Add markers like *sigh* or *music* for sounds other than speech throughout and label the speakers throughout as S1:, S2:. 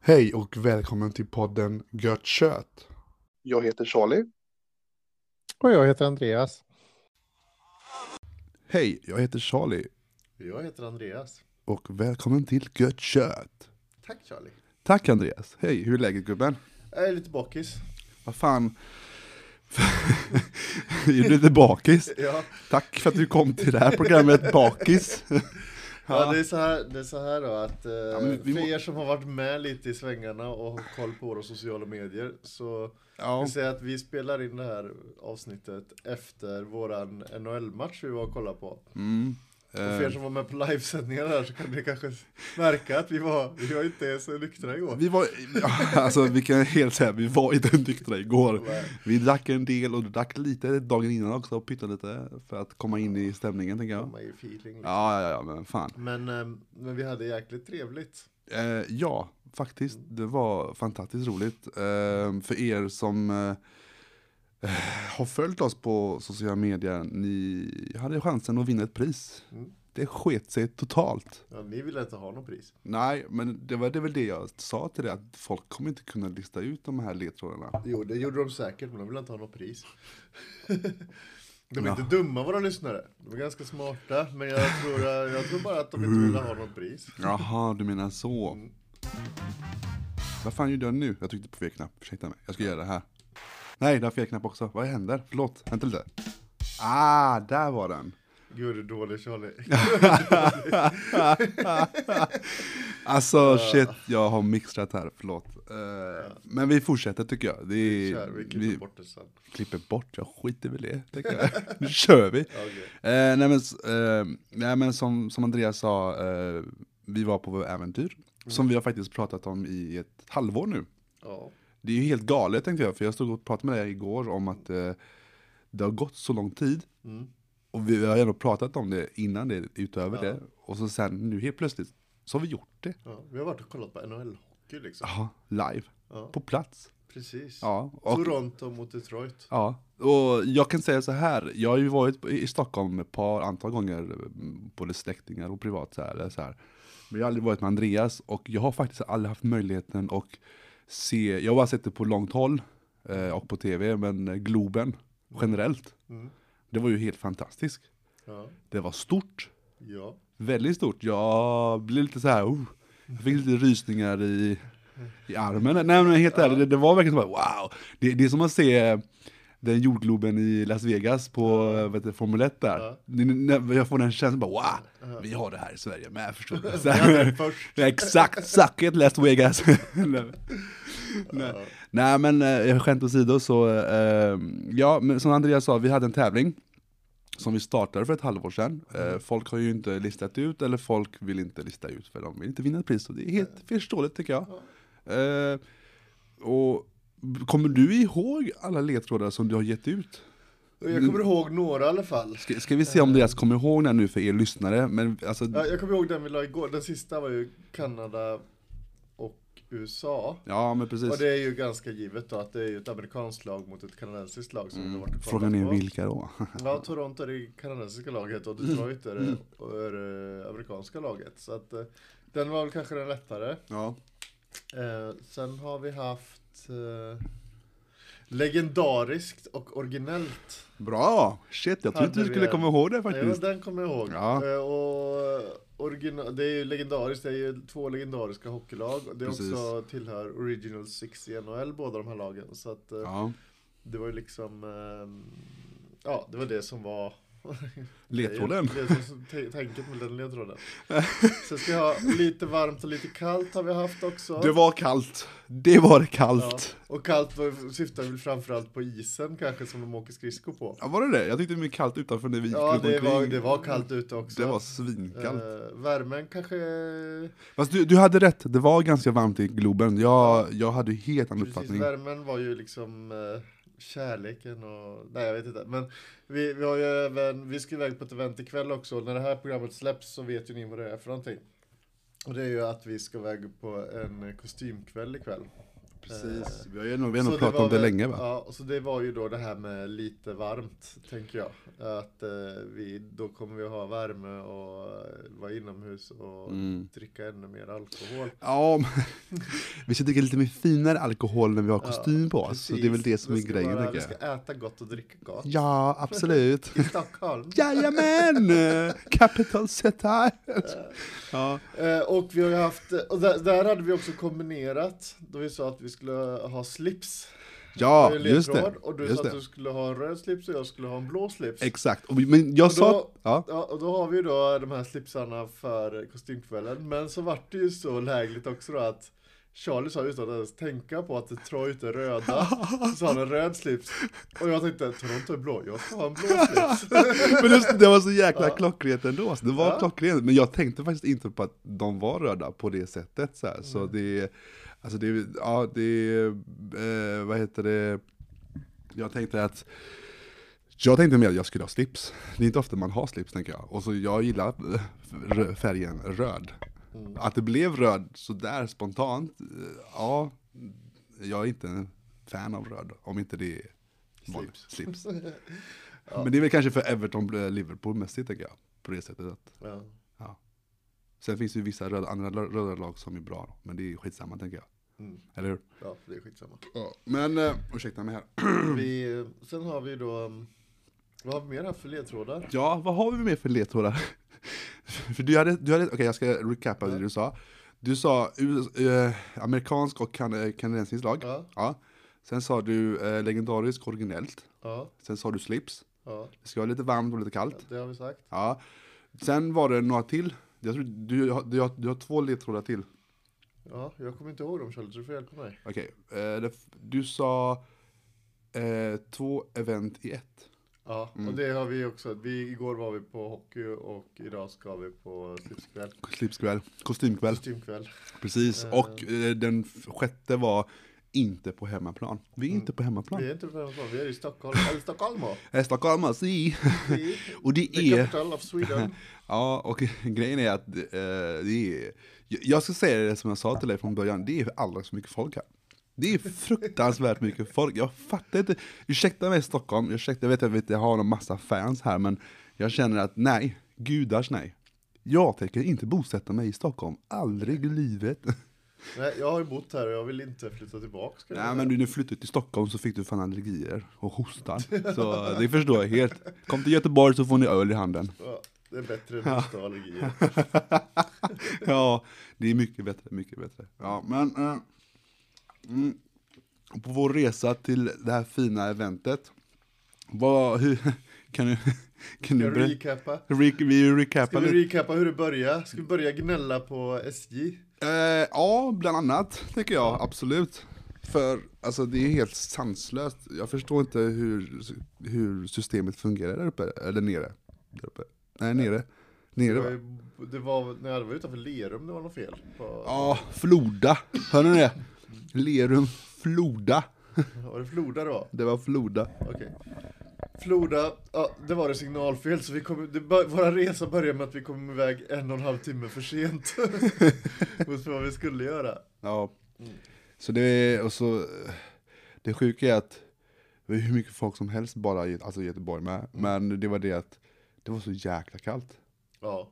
S1: Hej och välkommen till podden Gött Kött.
S2: Jag heter Charlie.
S3: Och jag heter Andreas.
S1: Hej, jag heter Charlie
S3: Jag heter Andreas.
S1: och välkommen till Gött Kött.
S3: Tack Charlie.
S1: Tack Andreas. Hej, hur är läget gubben?
S3: Jag är lite bakis.
S1: Vad fan? *laughs* är du lite bakis?
S3: Ja,
S1: Tack för att du kom till det här programmet bakis.
S3: ja det, är så här, det är så här då att eh,
S1: men vi må-
S3: för er som har varit med lite i svängarna och har koll på våra sociala medier så
S1: Ja,
S3: vi säger att vi spelar in det här avsnittet efter våran NHL-match vi var och kollade på. Och
S1: mm,
S3: för er som var med på livesändningar här så kan ni kanske märka att vi var, vi var inte så nyktra igår.
S1: vi var, ja, alltså vi kan helt säga, vi var inte nyktra igår. Vi drack en del och drack lite dagen innan också och pyttade lite för att komma in i stämningen tänker jag.
S3: Komma i feeling. liksom.
S1: Ja, ja, ja, men fan.
S3: Men, eh, men vi hade jäkligt trevligt.
S1: Eh, ja, faktiskt. Det var fantastiskt roligt. Eh, för er som eh, har följt oss på sociala medier, ni hade chansen att vinna ett pris.
S3: Mm.
S1: Det sket sig totalt.
S3: Ja, ni ville inte ha något pris.
S1: Nej, men det var det är väl det jag sa till dig, att folk kommer inte kunna lista ut de här ledtrådarna.
S3: Jo, det gjorde de säkert, men de ville inte ha något
S1: *laughs*
S3: pris. De är
S1: Ja.
S3: inte dumma våra lyssnare. De är ganska smarta, men jag tror, jag tror bara att de inte ville ha något pris.
S1: Jaha, du menar så.
S3: Mm.
S1: Vad fan gjorde jag nu? Jag tryckte på fel knapp, ursäkta mig. Jag ska göra det här. Nej, det var fel knapp också. Vad händer? Förlåt, vänta lite. Ah, där var den.
S3: Gud, du är dålig Charlie.
S1: Alltså shit, jag har mixtrat här, förlåt. Eh, Men vi fortsätter tycker jag. Det är,
S3: Kör, vi klipper
S1: vi
S3: bort det sen.
S1: klipper bort, jag skiter väl i det. tänker jag. nu kör vi.
S3: Ja, okej.
S1: Eh, nej, men, s- eh, nej men som, som Andreas sa, eh, vi var på vårt äventyr.
S3: Mm.
S1: Som vi har faktiskt pratat om i ett halvår nu.
S3: Ja,
S1: Det är ju helt galet tänkte jag, för jag stod och pratade med dig igår om att eh, det har gått så lång tid.
S3: Mm.
S1: Och vi har ju ändå pratat om det innan det, utöver
S3: Ja.
S1: det. Och så sen nu helt plötsligt, så har vi gjort det.
S3: ja. Vi har varit och kollat på NHL-hockey liksom.
S1: Ja, live.
S3: Ja.
S1: På plats.
S3: Precis.
S1: Ja, och,
S3: Toronto mot Detroit.
S1: ja. och jag kan säga så här, jag har ju varit i Stockholm ett par antal gånger, mm, både släktingar och privat så här, eller så här. Men jag har aldrig varit med Andreas och jag har faktiskt aldrig haft möjligheten att se, jag har bara sett det på långt håll eh, och på tv, men eh, Globen generellt,
S3: Mm.
S1: det var ju helt fantastiskt.
S3: Ja.
S1: Det var stort,
S3: ja.
S1: väldigt stort. Jag blev lite så här, oh, jag fick lite rysningar i, i armen. Nej men helt ärligt, det, det var verkligen så här, wow. Det, det är som att se den jordgloben i Las Vegas på vet du, Formel 1 där.
S3: Ja.
S1: Det- när Jag får den känslan bara, wow, vi har det här i Sverige med, förstår du? Så
S3: Vi hade
S1: här,
S3: det först.
S1: Ja, *laughs* Exakt, suck it Las Vegas. *laughs* Nej. Nej. Nej men eh, skämt åsido så, eh, ja men som Andreas sa, vi hade en tävling som vi startade för ett halvår sedan.
S3: Mm.
S1: Eh, Folk har ju inte listat ut, eller folk vill inte lista ut för de vill inte vinna ett pris. Och det är helt förståeligt tycker jag. Eh, och kommer du ihåg alla ledtrådar som du har gett ut?
S3: Och Jag kommer ihåg några i alla fall.
S1: Ska, ska vi se om Andreas kommer ihåg den nu för er lyssnare? Men alltså,
S3: Eh. Ja, jag kommer ihåg den vi la igår. Den sista var ju Kanada och USA.
S1: ja men precis.
S3: Och det är ju ganska givet då att det är ju ett amerikanskt lag mot ett kanadensiskt lag som vi har varit och kollat
S1: Mm. Frågan är
S3: på.
S1: vilka Mm. då? *laughs*
S3: Ja, Toronto är det kanadensiska laget och Detroit är det, och är det amerikanska laget. Så att eh, den var väl kanske den lättare.
S1: ja.
S3: Eh, sen har vi haft eh, legendariskt och originellt.
S1: Bra! Shit, jag trodde
S3: Hade
S1: inte du
S3: vi
S1: skulle
S3: en-
S1: komma ihåg det
S3: Ja,
S1: faktiskt.
S3: den kommer jag ihåg.
S1: Ja.
S3: Eh, och original, det är ju legendariskt, det är ju två legendariska hockeylag. Och Det är
S1: Precis.
S3: också tillhör Original Six i NHL, båda de här lagen. Så att, eh,
S1: Ja.
S3: Det var ju liksom, ehm, ja det var det som var
S1: Ledtråden.
S3: Det är ju- det som- t- Tänket med den ledtråden. Sen ska jag ha lite varmt och lite kallt har vi haft också.
S1: Det var kallt. Det var det
S3: Ja,
S1: kallt.
S3: och kallt var- syftar väl framförallt på isen kanske som de åker skridskor på.
S1: Ja. Var det det? Jag tyckte det var kallt utanför när vi gick
S3: Ja,
S1: runt
S3: det var,
S1: omkring.
S3: det var kallt ute också.
S1: Det var svinkallt.
S3: Eh, värmen kanske...
S1: Fast du, du hade rätt, det var ganska varmt i Globen. Jag, jag hade ju helt annan
S3: Precis,
S1: uppfattning.
S3: värmen var ju liksom eh, kärleken och... Nej, jag vet inte. Men vi, vi har ju även... Vi ska iväg på ett event ikväll också. När det här programmet släpps så vet ju ni vad det är för någonting. Och det är ju att vi ska iväg på en kostymkväll ikväll.
S1: Precis, vi har ju nog, vi har nog pratat om det
S3: väl-
S1: länge va?
S3: Ja, och så det var ju då det här med lite varmt, tänker jag. Att eh, vi, då kommer vi ha värme och eh, vara inomhus och
S1: Mm.
S3: dricka ännu mer alkohol.
S1: Ja, men, *laughs* vi ska dricka lite mer finare alkohol när vi har kostym på oss, så det är väl det
S3: Precis.
S1: som är
S3: Vi ska
S1: grejen
S3: bara-
S1: tycker
S3: Vi
S1: jag.
S3: ska äta gott och dricka gott.
S1: Ja, absolut.
S3: I Stockholm.
S1: Jajamän!
S3: *laughs*
S1: Capital City! Ja,
S3: Eh, och vi har ju haft, och där, där hade vi också kombinerat, då vi sa att vi skulle ha slips.
S1: ja
S3: Det är
S1: just det.
S3: ledtråd, Och du
S1: Just
S3: sa att
S1: det.
S3: du skulle ha en röd slips och jag skulle ha en blå slips.
S1: Exakt, Och vi- men jag
S3: Och då,
S1: sa... Ja.
S3: ja, och då har vi ju då de här slipsarna för kostymkvällen. Men så vart det ju så lägligt också då att Charlie sa utan att ens tänka på att det tror ut
S1: *laughs*
S3: är röda, så sa han en röd slips. Och jag tänkte, Toronto är blå, jag ska ha en
S1: *laughs*
S3: blå slips.
S1: Men just, det var så jäkla
S3: Ja.
S1: klockrent ändå, alltså. det var
S3: Ja.
S1: klockrent. Men jag tänkte faktiskt inte på att de var röda på det sättet. Så, här. så
S3: Mm.
S1: det, alltså det, ja det, eh, vad heter det, jag tänkte att jag tänkte mer att jag skulle ha slips. Det är inte ofta man har slips tänker jag. Och så jag gillar eh, rö- färgen röd.
S3: Mm.
S1: Att det blev röd sådär spontant, eh, ja, jag är inte en fan av röd. Om inte det är
S3: Slips.
S1: slips. Men det är väl kanske för Everton-Liverpool mässigt tänker jag. På det sättet att,
S3: Ja.
S1: ja. Sen finns det ju vissa röda, andra lö- röda lag som är bra, då, men det är skitsamma tänker jag.
S3: Mm.
S1: Eller hur?
S3: Ja, det är skitsamma.
S1: Ja. Men, uh, ursäkta mig här.
S3: Vi, sen har vi då, um, vad har vi mer här för ledtrådar?
S1: Ja, vad har vi mer för ledtrådar? *laughs* för du hade, du hade okej jag ska recapa det du sa. Du sa US, eh, amerikansk och kan, eh, kanadensisk lag.
S3: Ja,
S1: Ja. Sen sa du eh, legendarisk och originellt.
S3: ja,
S1: Sen sa du slips.
S3: ja,
S1: Det ska vara lite varmt och lite kallt.
S3: det har vi sagt.
S1: Ja. Sen var det några till. Jag tror, du, har- du, har, du har två ledtrådar till.
S3: Ja, jag kommer inte ihåg dem Charlie, så du får hjälpa mig.
S1: Okej, eh, det f- du sa eh, två event i ett.
S3: Ja, och det har vi också. Vi, igår var vi på hockey och idag ska vi på slipskväll.
S1: Slipskväll, kostymkväll.
S3: Kostymkväll.
S1: Precis, och eh, den f- sjätte var inte på hemmaplan. Mm. Vi är inte på hemmaplan.
S3: Vi är inte på hemmaplan, vi är i Stockholm. Eller Stockholm va?
S1: Eh, Stockholm, si.
S3: Vi-
S1: Och det
S3: The
S1: är...
S3: capital of Sweden.
S1: Ja, och *laughs* grejen är att eh, det är... Jag ska säga det som jag sa till dig från början, det är alldeles för mycket folk här. Det är fruktansvärt mycket folk, jag fattar inte. Ursäkta mig Stockholm, ursäkta, jag vet att jag har en massa fans här, men jag känner att nej, gudars nej. Jag tänker inte bosätta mig i Stockholm, aldrig i livet.
S3: Nej, jag har ju bott här och jag vill inte flytta tillbaka. Ska jag
S1: Nej
S3: säga.
S1: men du, när du flyttade till Stockholm så fick du fan allergier och hostar. Så det förstår jag helt. Kom till Göteborg så får ni öl i handen.
S3: Ja, det är bättre än att ha allergier.
S1: ja, det är mycket bättre, mycket bättre. Ja, men... Eh, mm, på vår resa till det här fina eventet, vad, hur, *laughs* kan du, kan
S3: Ska
S1: du
S3: vi
S1: ber-
S3: recappa?
S1: re, vi
S3: Ska
S1: recapa lite?
S3: vi recappa hur det började? Ska vi börja gnälla på SJ?
S1: Eh, ja, bland annat, tycker jag, absolut. För, alltså det är helt sanslöst. Jag förstår inte hur, hur systemet fungerar där uppe, eller nere. Där uppe. Nej, nere. Nere
S3: Det
S1: va?
S3: var, ju- det var, nej, det var utanför Lerum det var något fel. På,
S1: Ja, Floda. Hör ni
S3: *laughs*
S1: det? Lerum, Floda.
S3: Var det Floda då?
S1: Det var Floda.
S3: Okej. Floda, ja, det var det signalfel så vi kom, det, bör- våra resa började med att vi kom iväg en och en halv timme för sent. *laughs* Mot vad vi skulle göra.
S1: Ja.
S3: Mm.
S1: Så det är, och så, det sjuka är att det var hur mycket folk som helst bara i alltså i Göteborg med,
S3: Mm.
S1: men det var det att det var så jäkla kallt.
S3: Ja.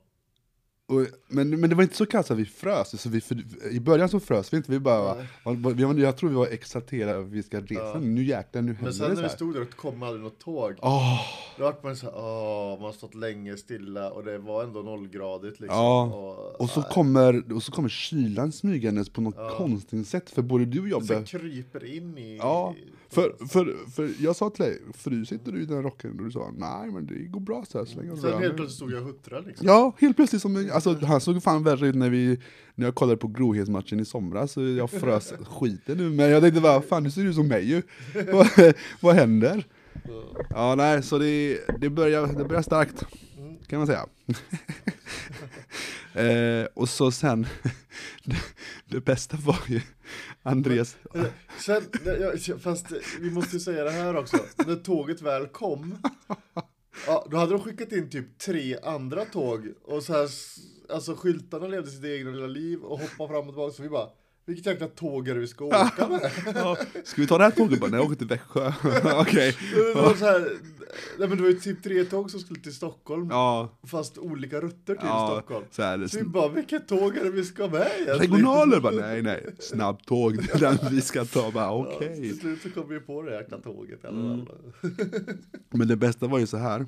S1: Och, men, men det var inte så kallt så att vi frös, så vi, för, i början så frös vi inte, vi bara,
S3: Nej.
S1: vi, var- jag tror vi var exalterade över att vi ska resa,
S3: Ja.
S1: nu jäklar, nu
S3: Men
S1: händer
S3: sen
S1: det så
S3: när vi
S1: här.
S3: stod där och kom aldrig något tåg.
S1: Åh,
S3: Då vart man såhär, åh, man har stått länge stilla och det var ändå nollgradigt liksom.
S1: Ja.
S3: Och,
S1: och, så kommer, och så kommer kylan smygandes på något konstigt sätt, för både du och jag
S3: så
S1: började
S3: kryper in i...
S1: Ja,
S3: i-
S1: för, för, för jag sa till dig, frys inte du i den rocken? Och du sa, nej men det går bra så här så länge du
S3: Sen
S1: rör
S3: helt
S1: mig."
S3: plötsligt stod jag och huttrade liksom.
S1: Ja, helt plötsligt som en, alltså han såg fan värre ut när vi, när jag kollade på Grohetsmatchen i somras, så jag frös skiten nu men jag tänkte bara, fan du ser ut som mig ju, *laughs* vad, vad händer? Ja nej, så det, det, börjar, det börjar starkt, kan man *laughs* säga. eh, och så sen, *laughs* det, det bästa var ju Andreas,
S3: Eh, Sen, ja, ja, fast eh, vi måste ju säga det här också. När tåget väl kom, ja, då hade de skickat in typ tre andra tåg. Och så här, s- alltså skyltarna levde sitt egna lilla liv och hoppade fram och tillbaka. Så vi bara, vi Vilket jäkla tåg är det vi
S1: *laughs*
S3: ska åka med?
S1: Ja. Ska vi ta det här tåget? Bara, Nej, jag åker till Växjö. *laughs* Okej.
S3: Det var så här, nej men det var ju typ tre tåg som skulle till Stockholm,
S1: Ja.
S3: fast olika rutter till
S1: Ja,
S3: Stockholm.
S1: så här,
S3: Så vi bara, vilket tåg är det vi ska med egentligen?
S1: Regionaler bara, nej nej, snabbtåg, *laughs* det är den vi ska ta, bara
S3: Ja,
S1: okej.
S3: Till slut så kom vi på det jäkla tåget. Eller mm.
S1: Men det bästa var ju så här.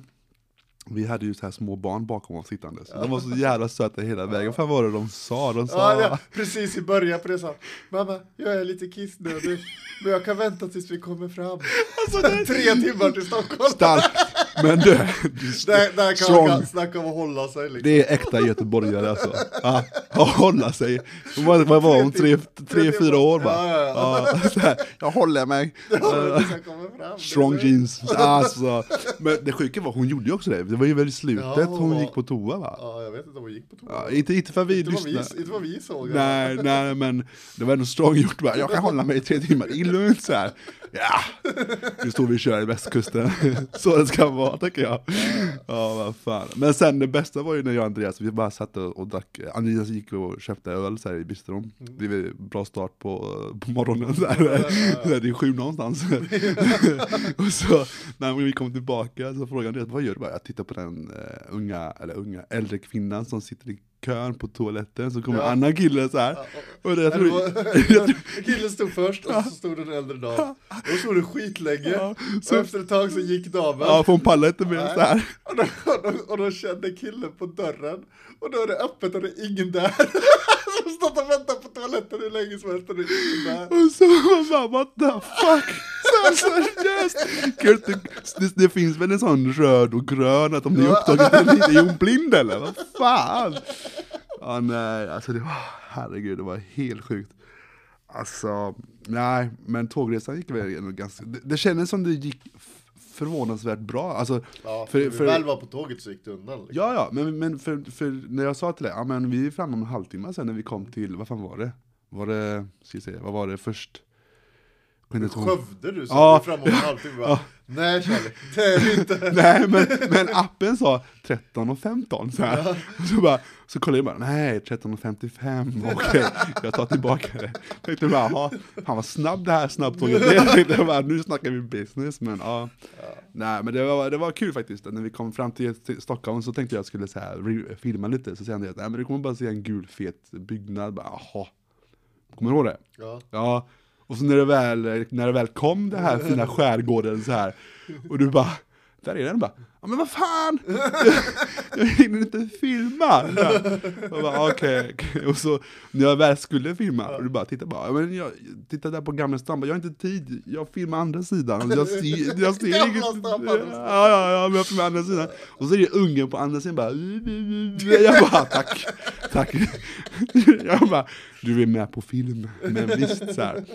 S1: Vi hade ju så här små barn bakom oss sittandes. De var så jävla söta hela vägen. Vad fan var det de sa? De sa...
S3: Ja, ja, precis i början på resan. Mamma, jag är lite kissnödig, men jag kan vänta tills vi kommer
S1: *laughs*
S3: fram. alltså, Tre timmar till Stockholm.
S1: Stark! Men du,
S3: *laughs* Där, där kan
S1: Strong.
S3: man snacka om att hålla sig liksom.
S1: det är äkta göteborgare alltså. Ja, att hålla sig. Vad vad var hon? Tre, tre fyra år bara.
S3: Ja, ja,
S1: Ja, så här, jag håller mig.
S3: ja. tills jag kommer fram.
S1: Strong
S3: Det- *laughs*
S1: jeans. Alltså. Men det sjuka var, hon gjorde ju också det. Det var ju väl i
S3: Ja,
S1: slutet
S3: hon var-
S1: hon gick på toa va?
S3: Ja, jag vet inte om hon gick på toa.
S1: Ja, inte, inte för att vi
S3: Inte vad vi,
S1: lyssnade.
S3: inte vad vi såg.
S1: Nej, nej men det var ändå strong gjort bara, jag kan hålla mig i tre timmar, det är lugnt så här. Ja, nu står vi och kör i västkusten. *laughs* Så det ska vara tycker jag. Ja, vad fan. Men sen det bästa var ju när jag och Andreas, vi bara satt och och drack, Andreas gick och köpte öl så här i bistron.
S3: Mm.
S1: Det var en bra start på, på morgonen så här. Så här, *laughs* Det är sju någonstans. *laughs* Och så när vi kom tillbaka så frågade Andreas, vad gör du? Bara, Jag tittar på den eh, unga, eller unga, äldre kvinnan som sitter i kön på toaletten, så kommer
S3: Ja.
S1: en annan kille så här. Och det, *laughs* jag
S3: Eller
S1: tror,
S3: var- Killen stod först och så stod en äldre dam. Och så stod det skitlänge.
S1: Ja,
S3: Och
S1: så-
S3: efter ett tag så gick damen.
S1: ja, för hon pallar inte med
S3: Nej.
S1: så här.
S3: Och då, och, då, och då kände killen på dörren och då är det öppet och det är ingen där. *laughs* Som stått och väntat på toaletten hur länge som helst och det är ingen där.
S1: Och så var man bara, what the fuck? Så här, seriöst! Kul att du- Det, det finns väl en sån röd och grön, att om ni är upptagna med lite, är hon blind eller? Vad fan? Ja nej, alltså det var, herregud, det var helt sjukt. Alltså, nej, men tågresan gick väl ändå ganska, det, det kändes som det gick f- förvånansvärt bra. Alltså,
S3: Ja, för, när vi väl var på tåget så gick det undan. Liksom.
S1: Ja, ja, men, men för, för när jag sa till dig, ja men vi är framme om en halvtimme sen när vi kom till, vad fan var det? Var det, ska vi se, vad var det först? Kunde inte ihåg.
S3: Skövde du så
S1: Ja.
S3: ja. framåt en halvtimme bara, nej Charlie, det är det inte.
S1: *laughs* Nej men, men appen sa 13 och 15 så här. Och *laughs* så, bara, så kollade jag bara, nej 13 och 55, *laughs* okej, jag tar tillbaka det. Tänkte bara, jaha, han var snabb det här snabbtåget. Jag tänkte bara, nu snackar vi business, men ja. Nej men det var, det var kul faktiskt, när vi kom fram till, till Stockholm så tänkte jag att jag skulle så här, re- filma lite, så säger han det, nej men du kommer bara se en gul fet byggnad, bara jaha. Kommer du ihåg det?
S3: Ja.
S1: Ja, och så när det väl, när det väl kom det här fina skärgården så här och du bara, där är den bara, ja men vad fan, *laughs* jag hinner inte filma. Så här. Jag bara, okej, okej. och så när jag väl skulle filma, och du bara, titta bara, ja, men jag, titta där på Gamla stan, bara, jag har inte tid, jag filmar andra sidan, jag ser, jag ser
S3: Gamla
S1: inget.
S3: stan på andra sidan.
S1: Ja, ja, ja, men jag filmar andra sidan. Och så är det ungen på andra sidan bara, jag bara, tack, tack. Jag bara, du är med på film, men visst så här.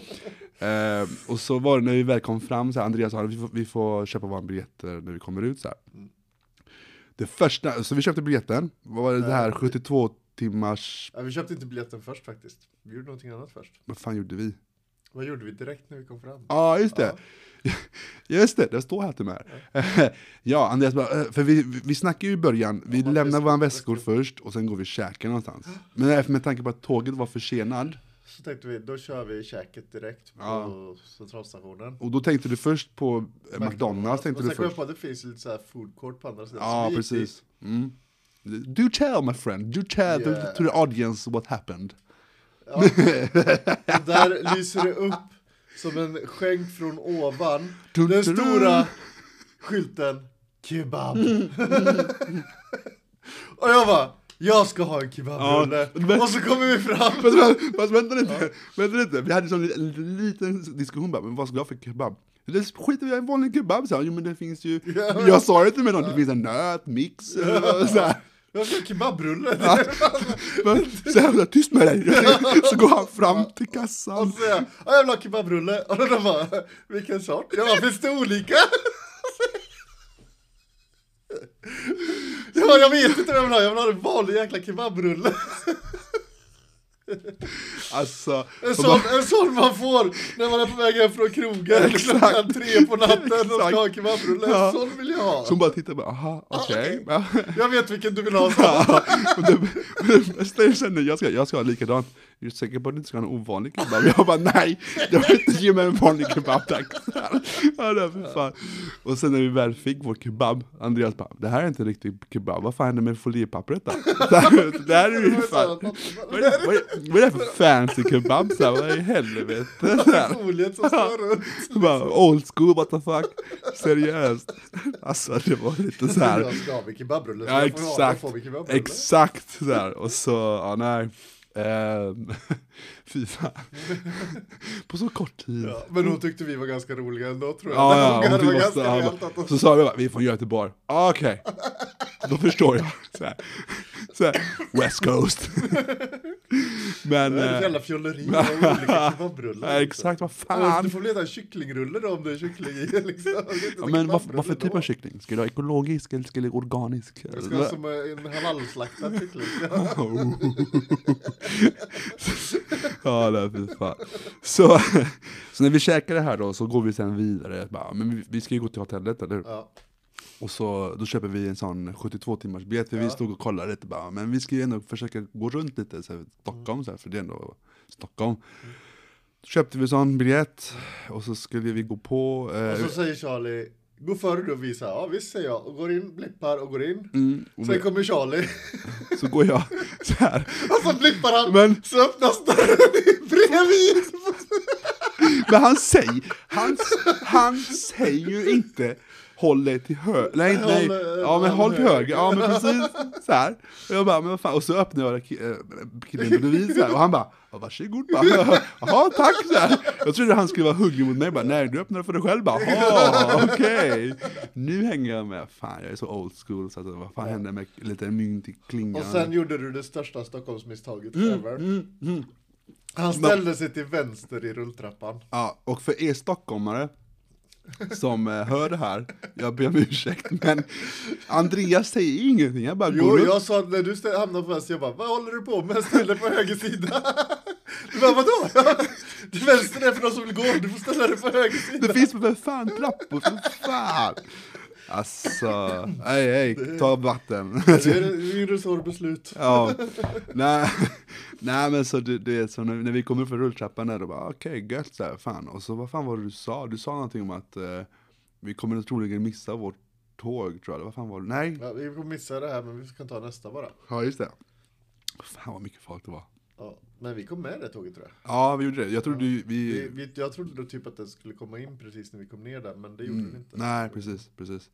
S1: Eh, och så var det när vi väl kom fram, så här, Andreas sa vi får, vi får köpa våra biljetter när vi kommer ut. Så, här. Det första, så vi köpte biljetten, vad var det, det här 72 timmars,
S3: Ja, vi köpte inte biljetten först faktiskt. Vi gjorde någonting annat först.
S1: vad fan gjorde vi?
S3: Vad gjorde vi direkt när vi kom fram?
S1: Ja, just det. *laughs* Just det, det står här till mig. *laughs* ja, Andreas bara, eh, för vi, vi- vi snackar ju i början, vi
S3: vad
S1: lämnar
S3: väskor-
S1: våra väskor
S3: väskor.
S1: först och sen går vi och käkar någonstans. Men eh, med tanke på att tåget var försenad,
S3: Så tänkte vi, då kör vi käket direkt på
S1: Ja.
S3: centralstationen.
S1: och då tänkte du först på eh, McDonalds,
S3: Och
S1: tänkte du
S3: sen kom jag
S1: först.
S3: på att det finns ju lite så här food court på andra sidan. Så
S1: Ja,
S3: vi gick dit.
S1: precis. Mm. Do tell my friend, do tell to-
S3: Yeah.
S1: to the audience what happened.
S3: Ja. Och där lyser det upp som en skänk från ovan.
S1: Dun,
S3: Den
S1: dun, dun.
S3: stora skylten Kebab.
S1: Mm.
S3: *laughs* Och jag bara, jag ska ha en kebabrulle.
S1: Ja, men-
S3: Och så kommer vi fram.
S1: Fast, vä- fast vänta lite, vänta lite, vi hade sån en liten diskussion bara, men vad ska jag ha för kebab? Det skiter vi i en vanlig kebab, så här, jo men det finns ju, jag sa det till mig, det finns en nöt, mix, eller så här.
S3: Jag ska ha en kebabrulle.
S1: Men Så här, tyst med dig! Så går han fram till
S3: *laughs* Och
S1: kassan.
S3: så säger jag, "Ja, jag vill ha kebabrulle. Och de bara, vilken sort? Jag bara, finns det olika? *laughs* Jag bara, jag vet inte vad jag vill ha, jag vill ha en vanlig jäkla kebabrulle.
S1: Alltså,
S3: En
S1: och
S3: sån, en sån man får när man är på väg hem
S1: *laughs*
S3: från krogen
S1: Exakt.
S3: klockan tre på natten och
S1: Exakt.
S3: ska ha kebabrulle. En
S1: Ja.
S3: sån vill jag ha.
S1: så hon bara tittar bara, aha, okej.
S3: Jag vet vilken du vill ha. Så.
S1: Och det- och det bästa jag känner, jag ska, jag ska ha likadant. Är du säker på att du inte ska ha en ovanlig kebab? Jag bara nej, jag vill inte ge mig en vanlig kebab tack. Ja, det för fan. Och sen när vi väl fick vår kebab, Andreas bara det här är inte riktigt kebab, vad fan hände med foliepappret då? Det här är ju fan, vad är det, vad är, vad är det för fancy kebab? Så här, vad i helvete? Så här.
S3: Foliet som står runt.
S1: Bara, old school, what the fuck? Seriöst? Alltså det var lite så här.
S3: Jag ska ha med kebabrulle. så
S1: Ja
S3: jag får ha- jag
S1: exakt,
S3: får med kebabrulle.
S1: exakt sådär. Och så, ja nej. Ehm, *laughs* fy fan. På så kort tid.
S3: Ja, men hon tyckte vi var ganska roliga ändå tror jag.
S1: Ja, ja, hon
S3: det var
S1: typ
S3: ganska
S1: måste, han
S3: rejält att
S1: *laughs* bara,
S3: de...
S1: så sa vi bara, vi är från Göteborg. Ah, Okej, då förstår jag. Så här. Så här, West Coast. *laughs* Men,
S3: Det är ett
S1: eh,
S3: jävla fjolleri med
S1: *laughs*
S3: olika kebabrullar.
S1: ja, exakt, vad
S3: Ja, Du
S1: fan.
S3: får väl äta en kycklingrulle då om det är kyckling *laughs* i liksom. Det är inte
S1: Ja,
S3: så
S1: men vad,
S3: kebabrulle
S1: vad för typ
S3: då.
S1: av kyckling? Ska det vara ekologisk eller ska det vara organisk?
S3: Det ska vara som eh, en halalslaktad kyckling. *laughs* Ja.
S1: ja, det är fy fan. Så, så när vi käkar det här då så går vi sen vidare. Bara, men vi, vi ska ju gå till hotellet, eller hur?
S3: Ja.
S1: Och så, då köper vi en sån 72 timmars biljett, för vi
S3: Ja.
S1: stod och kollade lite bara, men vi ska ju ändå försöka gå runt lite så här, Stockholm så här, för det är ändå Stockholm. Då köpte vi sån biljett, och så skulle vi gå på, eh,
S3: Och så säger Charlie, gå före du och visa. Ja visst säger jag. Och går in, blippar och går in.
S1: mm, och
S3: Sen kommer Charlie. *laughs*
S1: så går jag så här.
S3: Och så blippar han.
S1: Men-
S3: Så öppnas dörren
S1: *laughs*
S3: bredvid.
S1: Men han säger, han, han säger ju inte håll dig till höger, nej
S3: Håll,
S1: nej,
S3: eh,
S1: ja men
S3: håll
S1: håll till
S3: höger.
S1: höger, ja men precis så här. Och jag bara, men vad fan, och så öppnar jag ki- eh, killen bredvid så här, och han bara, ja, varsågod bara, *laughs* jaha tack så här. Jag trodde han skulle vara hungrig mot mig, Jag bara, nej du öppnar för dig själv bara, "Jaha, okej. Nu hänger jag med, fan jag är så old school så att, vad fan hände med lite mynt i klingan?
S3: Och sen gjorde du det största Stockholmsmisstaget ever.
S1: mm.
S3: Han ställde sig till vänster i rulltrappan.
S1: Ja, och för er stockholmare som eh, hör det här, jag ber om ursäkt, men Andreas säger ingenting, jag bara
S3: Jo,
S1: går upp.
S3: jag sa när du stä- hamnade på vänster, jag bara vad håller du på med? Ställ dig på höger sida. *laughs* Du bara vadå? *laughs* Det vänster är för de som vill gå, du får ställa dig på höger sida.
S1: Det finns väl för fan trappor, för fan! Alltså, hej hej, ta *laughs* vatten.
S3: Det är det är ett svårt beslut.
S1: Ja, nej, nej men så du, du vet, så när, när vi kom upp för rulltrappan där, då bara okej gött så här, fan. Och så vad fan var det du sa? Du sa någonting om att eh, vi kommer troligen missa vårt tåg tror jag, eller vad fan var det? Nej,
S3: Ja, vi kommer missa det här, men vi ska ta nästa bara.
S1: ja just det. Fan vad mycket folk det var.
S3: Ja, men vi kom med det tåget tror jag.
S1: Ja, vi gjorde det. Jag trodde ju vi...
S3: Vi, vi, jag trodde typ att den skulle komma in precis när vi kom ner där, men det
S1: Mm.
S3: gjorde den inte.
S1: Nej, precis, precis.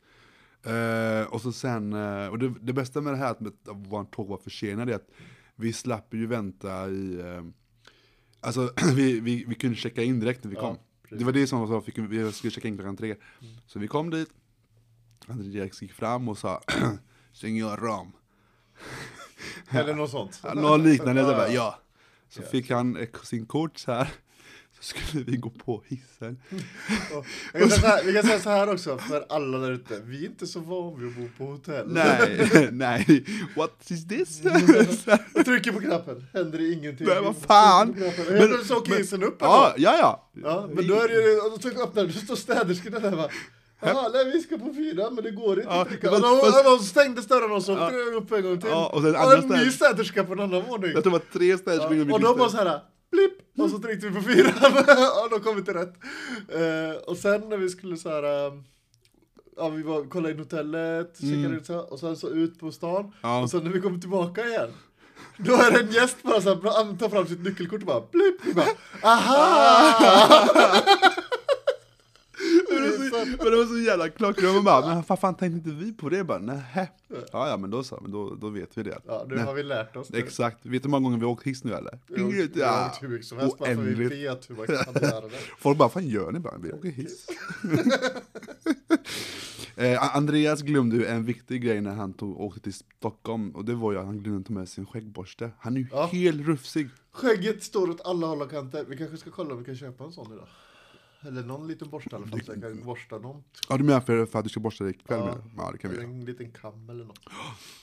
S1: Eh, och så sen, eh, och det, det bästa med det här att med- att vårt tåg var försenat är att vi slapp ju vänta i... eh, alltså, *clears throat* vi, vi, vi kunde checka in direkt när vi
S3: Ja,
S1: kom.
S3: precis. Mm.
S1: det var det som var så, fick, vi skulle checka in klockan tre. Så vi kom dit, Andreas gick fram och sa *clears throat* Senor
S3: *laughs*
S1: Ram.
S3: Eller något sånt.
S1: Ja, Någon liknande, så bara, ja. Så fick han eh, sin kort så här. *laughs* Så skulle vi gå på hissen.
S3: Och- Jag kan säga så här, vi kan säga så här också, för alla där ute. Vi är inte så vana vid att bo på hotell.
S1: Nej, nej. What is
S3: *laughs*
S1: this?
S3: Jag *laughs* trycker på knappen, händer det ingenting.
S1: Men vad fan!
S3: Jag trycker på
S1: Men-
S3: knappen. Helt så åker hissen upp
S1: Ja,
S3: ändå.
S1: ja, ja.
S3: Ja, men då är det ju, och då trycker jag upp den, då står städerskorna där va. Jaha, nej vi ska på fyran, men det går inte.
S1: Ja,
S3: att trycka.
S1: fast-
S3: och de,
S1: fast-
S3: och de stängde dörren och så åkte den upp en gång till.
S1: Ja, och
S3: och
S1: den andra
S3: en ny
S1: städ-
S3: städerska på en annan våning.
S1: Jag tror det var tre städer som
S3: Ja,
S1: gjorde
S3: och
S1: mitt
S3: de
S1: listor.
S3: var så här, blipp, och så tryckte vi på fyran. *laughs* och då kom vi till rätt. Eh, och sen när vi skulle så här, eh, ja vi var, kollade in hotellet, checkade ut så här, och sen så ut på stan.
S1: Mm. Ja.
S3: Och sen när vi kom tillbaka igen. Då är det en gäst bara så här, han tar fram sitt nyckelkort och bara blipp, vi bara aha!
S1: Men det var så jävla klockrent, man bara, men vad fan tänkte inte vi på det? Jag bara, nähä. Ja, ja, men då så, men då, då vet vi det.
S3: Ja, nu
S1: Nej.
S3: har vi lärt oss det.
S1: Exakt, vet du hur många gånger vi har åkt hiss nu eller?
S3: Vi har åkt- vi har åkt hur mycket som helst bara för vi
S1: oändligt.
S3: vet hur man kan
S1: *laughs*
S3: göra det.
S1: Folk bara, fan gör ni bara? Vi åker hiss. *laughs* eh, Andreas glömde ju en viktig grej när han tog, åkte till Stockholm, och det var ju att han glömde ta med sin skäggborste. Han är ju
S3: Ja.
S1: helt rufsig.
S3: Skägget står åt alla håll och kanter. Vi kanske ska kolla om vi kan köpa en sån idag. Eller någon liten borste i alla fall, så jag kan borsta någon.
S1: Ja, du menar för, för att du ska borsta dig ikväll?
S3: Ja.
S1: Ja. ja, det kan vi
S3: Eller
S1: göra.
S3: en liten kam eller något.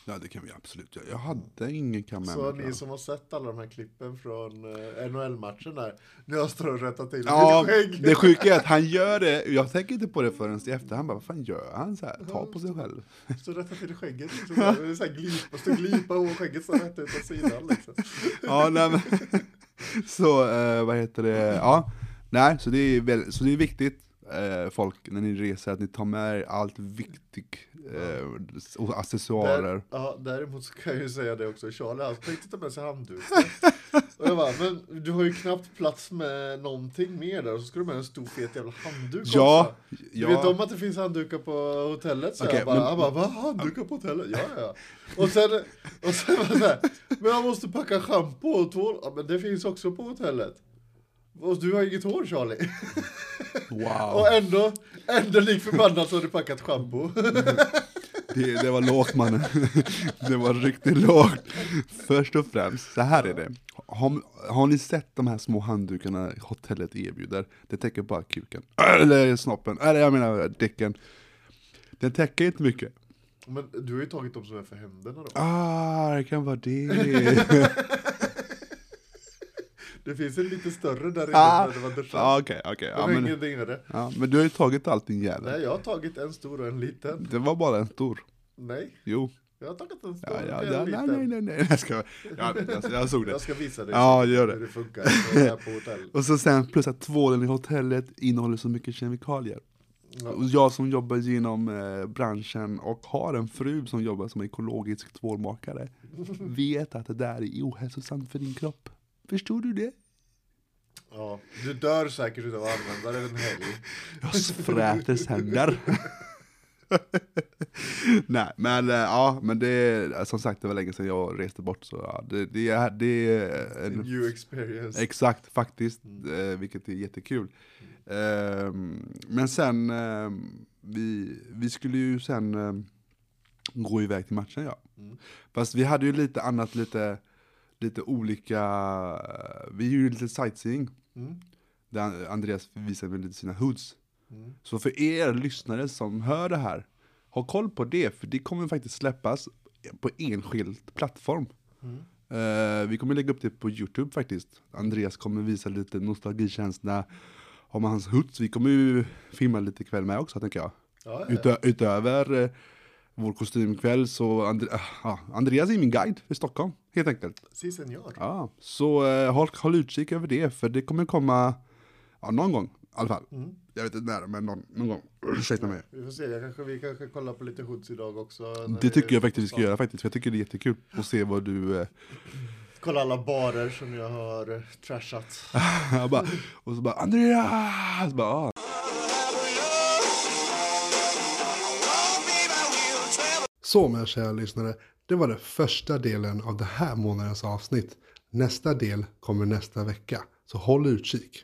S1: Ja, det kan vi absolut göra. Jag hade ingen kam med
S3: Så
S1: mig,
S3: ni som har sett alla de här klippen från eh, NHL-matchen där, när jag står och rättar till
S1: Ja,
S3: mitt *laughs* skägg.
S1: det sjuka är att han gör det, jag tänker inte på det förrän i efterhand, bara, vad fan gör han så här? Ta på sig själv.
S3: Så rättar till skägget.
S1: *laughs*
S3: Liksom. Det är så här glipa, så glipa och skägget så här rätt ut åt sidan liksom.
S1: Ja, nej, men, *laughs* Så eh, vad heter det, ja. Nej, så det är, väl, så det är viktigt eh, folk när ni reser, att ni tar med er allt viktigt, eh, och accessoarer.
S3: Där, ja, däremot så kan jag ju säga det också, Charlie han tänkte ta med
S1: *laughs*
S3: sig handdukar. Och jag bara, men du har ju knappt plats med någonting mer där och så ska du med en stor fet jävla handduk
S1: Ja,
S3: också. Du vet
S1: ja.
S3: om att det finns handdukar på hotellet? Så
S1: Okej,
S3: jag bara,
S1: men-
S3: han bara, va? Handdukar på hotellet? Ja,
S1: *laughs*
S3: ja. Och sen, och sen var det så här, men jag måste packa schampo och tvål. Ja, men det finns också på hotellet. Och du har inget hår Charlie.
S1: Wow,
S3: Och ändå, ändå lik förbannat så har du packat schampo. *laughs*
S1: det, det var lågt mannen. *laughs* Det var riktigt lågt. Först och främst, så här är det. Har, har ni sett de här små handdukarna hotellet erbjuder? Det täcker bara kuken. Eller snoppen, eller jag menar däcken. Den täcker inte mycket.
S3: Men du har ju tagit dem som är för händerna då.
S1: Ah, det kan vara
S3: *laughs*
S1: det.
S3: Det finns en lite större där inne
S1: Ah,
S3: när det var duschat.
S1: Ja, Okej, okej.
S3: Jag
S1: Ja,
S3: har
S1: men,
S3: ingen dingare.
S1: ja, men du har ju tagit allt din jävel.
S3: Nej, jag har tagit en stor och en liten.
S1: Det var bara en stor.
S3: Nej,
S1: Jo.
S3: jag har tagit en stor
S1: Ja, ja,
S3: och en
S1: ja, nej,
S3: liten.
S1: nej, nej, nej. Jag, ska, ja, jag, jag såg det.
S3: Jag ska visa dig
S1: Ja, gör
S3: hur
S1: det.
S3: det funkar här på hotell.
S1: Och så sen plus att tvålen i hotellet innehåller så mycket kemikalier.
S3: Ja.
S1: Och jag som jobbar inom eh, branschen och har en fru som jobbar som ekologisk
S3: *laughs*
S1: tvålmakare vet att det där är ohälsosamt för din kropp. Förstod du det?
S3: Ja, du dör säkert utav att använda den en helg.
S1: Jag fräter sönder. *laughs* Nej, men eh, ja, men det är som sagt, det var länge sedan jag reste bort så ja, det, det, är, det är en
S3: New experience.
S1: Exakt, faktiskt, eh, vilket är jättekul. Ehm, men sen, ehm, vi, vi skulle ju sen ehm, gå iväg till matchen ja.
S3: Mm.
S1: Fast vi hade ju lite annat, lite, lite olika, eh, vi gjorde lite sightseeing.
S3: Mm.
S1: Där Andreas visade mig lite sina hoods.
S3: Mm.
S1: Så för er lyssnare som hör det här, ha koll på det, för det kommer faktiskt släppas på enskild plattform.
S3: Mm.
S1: Eh, vi kommer lägga upp det på Youtube faktiskt. Andreas kommer visa lite nostalgikänsla om hans huts. Vi kommer ju filma lite ikväll med också tänker jag.
S3: Ja, ja.
S1: Utö- utöver eh, vår kostymkväll så And- ah, Andreas är min guide i Stockholm helt enkelt.
S3: Si senor.
S1: Ja, så eh, håll, håll utkik över det, för det kommer komma ja, någon gång i alla fall.
S3: Mm.
S1: Jag vet inte när, men någon, någon gång. *clears throat* Ursäkta mig.
S3: Vi får se, jag kanske, vi kanske kollar på lite hoods idag också. när
S1: Det tycker
S3: vi-
S1: jag faktiskt vi ska göra faktiskt, för jag tycker det är jättekul att se vad du... Eh, *laughs*
S3: Kolla alla barer som jag har eh, trashat.
S1: jag bara, och så bara Andreas! Bara, ah.
S2: Så mina kära lyssnare, det var den första delen av det här månadens avsnitt. Nästa del kommer nästa vecka, så håll utkik.